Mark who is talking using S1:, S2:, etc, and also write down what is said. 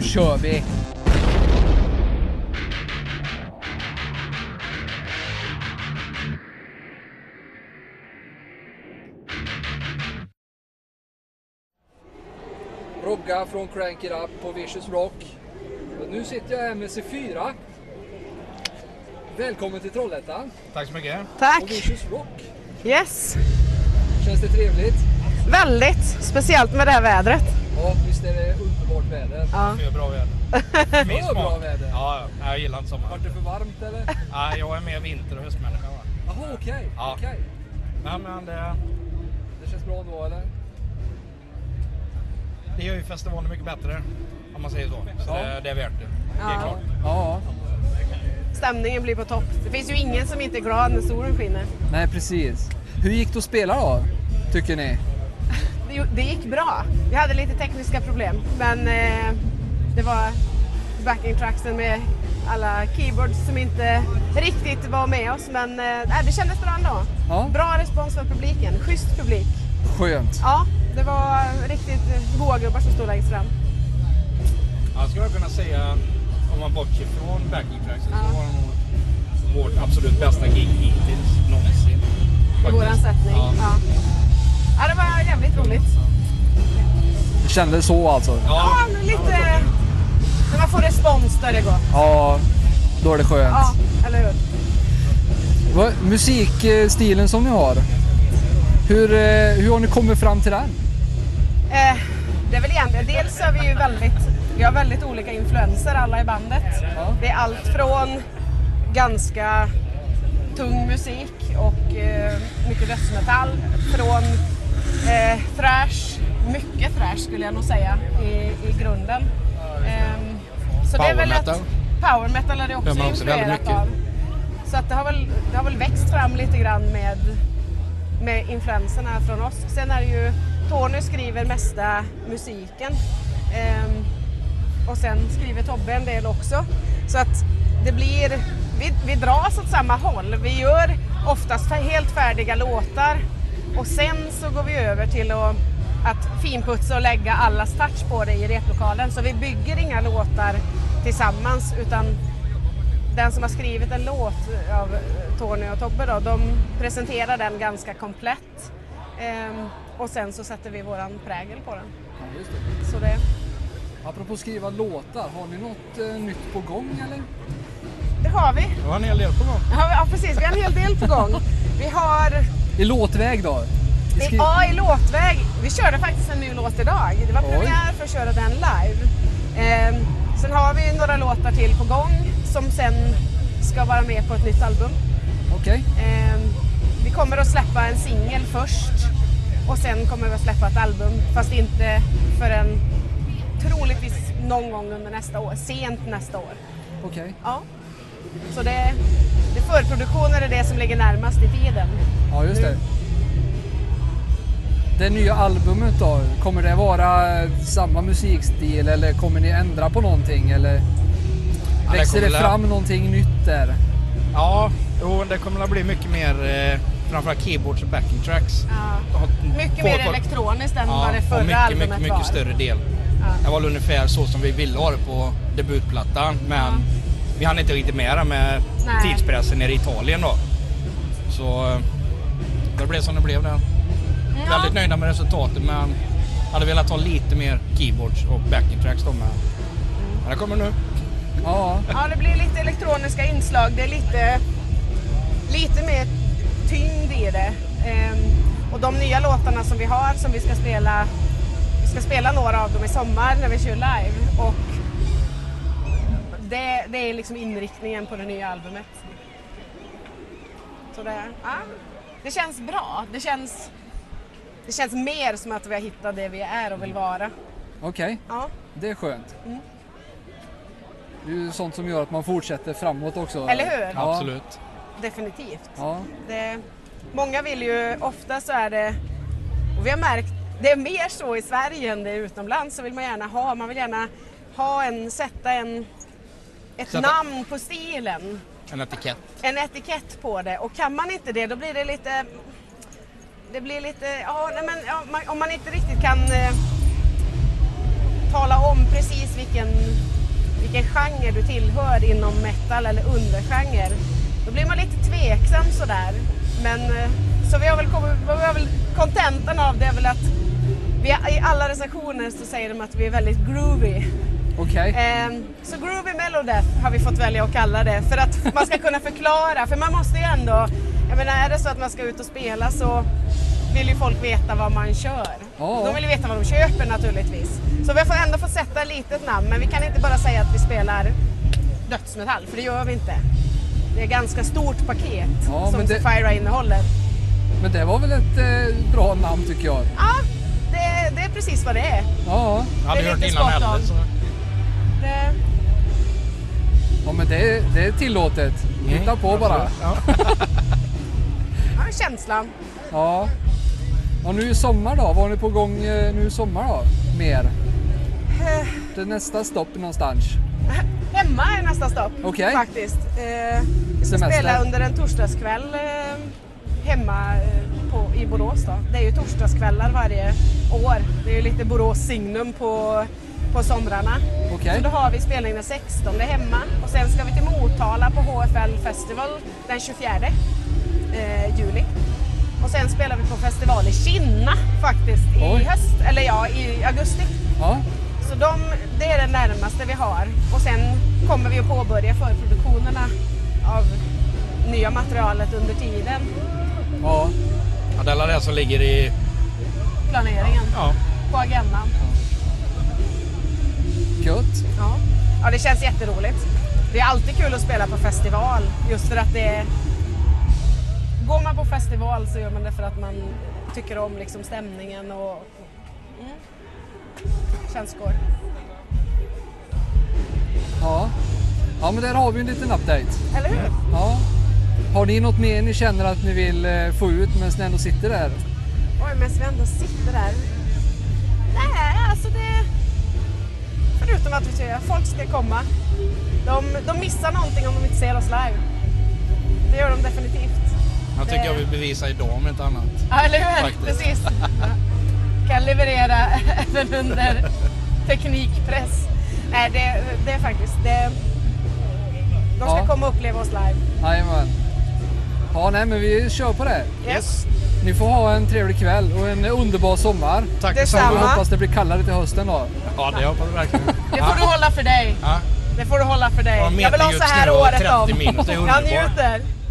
S1: kör vi! Rogga från Crank It Up på Vicious Rock. Och nu sitter jag här med C4. Välkommen till Trollhättan
S2: Tack så mycket.
S1: och
S3: Tack!
S1: Vicious Rock.
S3: Yes!
S1: Känns det trevligt?
S3: Väldigt! Speciellt med det här vädret.
S1: Ja, visst är det underbart väder.
S3: Ja.
S2: För bra väder. Min
S1: För bra
S2: smak.
S1: väder.
S2: Ja, ja. Nej, jag gillar inte sommar.
S1: Vart det för varmt eller?
S2: Nej, jag är mer vinter och höstmänniska. va.
S1: Jaha, okej.
S2: Ja.
S1: okej.
S2: Nej, men det,
S1: Det känns bra då eller?
S2: det gör ju festivalen mycket bättre. Om man säger så. Så
S1: Ja.
S2: det, det är värt det. Det är
S3: Ja.
S2: klart.
S1: Ja,
S3: Stämningen blir på topp. Det finns ju ingen som inte är glad när solen skiner.
S1: nej precis. Hur gick det att spela då? Tycker ni?
S3: Det, det gick bra. Vi hade lite tekniska problem, men eh, det var backing tracksen med alla keyboards som inte riktigt var med oss. Men eh, nej, det kändes bra ändå.
S1: Ja.
S3: Bra respons från publiken. Schysst publik.
S1: Skönt.
S3: Ja, det var riktigt goa gubbar som stod längst fram.
S2: Jag skulle jag kunna säga, om man bortser från backing tracksen, så var det nog vårt absolut bästa gig hittills någonsin.
S3: I
S2: Faktiskt.
S3: våran sättning.
S2: Ja.
S3: Ja. ja, det var jävligt roligt.
S1: Det kändes så alltså?
S3: Ja, men lite... När man får respons då är det gott.
S1: Ja, då är det skönt.
S3: Ja, eller hur?
S1: Vad- Musikstilen som ni har, hur, eh, hur har ni kommit fram till den?
S3: Eh, det är väl egentligen... Dels är vi ju väldigt... Vi har väldigt olika influenser alla i bandet. Det är allt från ganska tung musik och eh, mycket dödsmetall. Från eh, thrash, mycket thrash skulle jag nog säga i, i grunden. Ehm, så det är
S2: Power
S3: väl
S2: metal.
S3: Att, power metal är det också,
S2: Hör man också
S3: influerat
S2: väldigt mycket.
S3: av. Så att det, har väl, det har väl växt fram lite grann med, med influenserna från oss. Sen är det ju Tony skriver mesta musiken. Ehm, och sen skriver Tobbe en del också. Så att det blir, vi, vi dras åt samma håll. Vi gör oftast fär- helt färdiga låtar och sen så går vi över till att, att finputsa och lägga allas touch på det i replokalen. Så vi bygger inga låtar tillsammans utan den som har skrivit en låt av eh, Tony och Tobbe då, de presenterar den ganska komplett. Ehm, och sen så sätter vi våran prägel på den. Så det...
S1: Apropå skriva låtar, har ni något eh, nytt på gång eller?
S3: Det har vi.
S2: Det var en hel del på gång.
S3: Ja, ja, precis. Vi har en hel del på gång. Vi har
S1: I låtväg då? I
S3: det
S1: skri-
S3: är A i låtväg. Vi körde faktiskt en ny låt idag. Det var
S1: Oj.
S3: premiär för att köra den live. Ehm, sen har vi några låtar till på gång som sen ska vara med på ett nytt album.
S1: Okej.
S3: Ehm, vi kommer att släppa en singel först och sen kommer vi att släppa ett album fast inte förrän troligtvis någon gång under nästa år, sent nästa år.
S1: okej.
S3: Ja. Så det, det förproduktioner är det som ligger närmast i tiden.
S1: Ja, just det. Det nya albumet då, kommer det vara eh, samma musikstil eller kommer ni ändra på någonting eller?
S2: Ja, det
S1: Växer det
S2: kommer väl-
S1: fram någonting nytt där?
S2: Ja, jo, det kommer att bli mycket mer, eh, framförallt keyboards och backing tracks.
S3: Ja.
S2: Har-
S3: Mycket
S2: får-
S3: mer
S2: får-
S3: elektroniskt än
S2: Ja,
S3: vad det
S2: och
S3: förra
S2: mycket,
S3: albumet
S2: mycket, mycket
S3: var.
S2: större del. Det var väl ungefär så som vi ville ha det på debutplattan men vi hann inte riktigt med det med
S3: Nej.
S2: tidspressen nere i Italien då. Så eh, det blev som det blev där. Väldigt nöjda med resultatet men hade velat ha lite mer keyboards och backing tracks då men
S3: Mm.
S2: men det kommer nu.
S1: Ja,
S3: Ja, det blir lite elektroniska inslag. Det är lite, lite mer tyngd i det. Ehm, och de nya låtarna som vi har som vi ska spela, vi ska spela några av dem i sommar när vi kör live. Och det, det är liksom inriktningen på det nya albumet. Så det, ja, det känns bra. Det känns, det känns mer som att vi har hittat det vi är och vill vara.
S1: okej.
S3: Ja.
S1: Det är skönt.
S3: Mm.
S1: Det är ju sånt som gör att man fortsätter framåt också.
S3: Eller hur?
S1: Ja,
S2: Absolut.
S3: Definitivt.
S1: Ja,
S3: Det, eh, många vill ju, ofta så är det, och vi har märkt, det är mer så i Sverige än det är utomlands, så vill man gärna ha, man vill gärna ha en, sätta en, ett
S2: Sätta-
S3: namn på stilen,
S2: En etikett.
S3: en etikett på det och kan man inte det då blir det lite, det blir lite, ja nej men ja, man, om man inte riktigt kan eh, tala om precis vilken genre du tillhör inom metal eller undergenre. Då blir man lite tveksam sådär. Men eh, så vi har väl kommit, vi har väl, kontentan av det är väl att vi, i alla recensioner så säger de att vi är väldigt groovy.
S1: Okej.
S3: Ehm, så Groovy Melodeath har vi fått välja att kalla det för att man ska kunna förklara. För man måste ju ändå, jag menar är det så att man ska ut och spela så vill ju folk veta vad man kör.
S1: Ja.
S3: De vill ju veta vad de köper naturligtvis. Så vi får ändå få sätta ett litet namn men vi kan inte bara säga att vi spelar dödsmetall för det gör vi inte. Det är ett ganska stort paket
S1: Ja,
S3: som
S1: men det-
S3: Sapphira innehåller.
S1: Men det var väl ett eh, bra namn tycker jag.
S3: Ja, det, det är precis vad det är.
S1: Ja,
S2: Jag hade
S3: Det är
S2: hört
S3: lite
S2: innan
S3: spot
S2: heller.
S3: on.
S2: Så.
S3: Det,
S1: ja men det, det är tillåtet. Hitta på bara.
S2: absolut. Ja.
S3: ja, känslan.
S1: Ja. Och nu i sommar då? Vad har ni på gång eh, nu i sommar då? Mer?
S3: Eh.
S1: Det är nästa stopp någonstans?
S3: Hemma är nästa stopp
S1: Okej.
S3: faktiskt. Eh, vi ska
S1: Semester.
S3: spela under en torsdagskväll eh, hemma eh, på, i Borås. Då. Det är ju torsdagskvällar varje år. Det är ju lite Borås signum på, på somrarna.
S1: Okej.
S3: Så då har vi spelning den 16 hemma och sen ska vi till Motala på HFL Festival den 24 eh, juli. Och sen spelar vi på festival i Kinna faktiskt i
S1: Oj.
S3: höst, eller ja, i augusti.
S1: Ja.
S3: Så de, det är det närmaste vi har. Och sen kommer vi att påbörja förproduktionerna av nya materialet under tiden,
S1: Ja.
S2: Ja, det är alla det som ligger i...
S3: planeringen,
S2: Ja.
S3: på agendan.
S1: Gött.
S3: Ja. ja, det känns jätteroligt. Det är alltid kul att spela på festival, just för att det är... Går man på festival så gör man det för att man tycker om liksom stämningen och... Mm. Känns skoj.
S1: Ja. Ja men där har vi en liten update.
S3: Eller hur?
S1: Ja. Har ni något mer ni känner att ni vill eh, få ut medan ni ändå sitter där?
S3: Oj, men vi ändå sitter där. Nej, alltså det... Förutom att vi tycker att folk ska komma. De, de missar någonting om de inte ser oss live. Det gör de definitivt.
S2: Jag tycker
S3: Det-
S2: jag vill bevisa idag om inte annat.
S3: Ja, eller hur?
S2: Faktiskt.
S3: Precis. Ja. Kan leverera även under teknikpress. Nej, det, det är faktiskt... Det, de ska
S1: Ja.
S3: komma och uppleva oss live.
S1: Jajamän. Ja nej men vi kör på det.
S2: Yes.
S1: Ni får ha en trevlig kväll och en underbar sommar.
S2: Tack
S3: Detsamma.
S1: Vi
S2: detsamma.
S1: hoppas det blir kallare till hösten då.
S2: Ja, det hoppas jag verkligen.
S3: Det får du hålla för dig.
S2: Ja.
S3: Det får du hålla för dig.
S2: Ja,
S3: Jag vill ha
S2: meterljus
S3: så här
S2: snö och
S3: året
S2: 30
S3: om.
S2: minus, det är
S3: Jag
S2: underbart.
S3: njuter.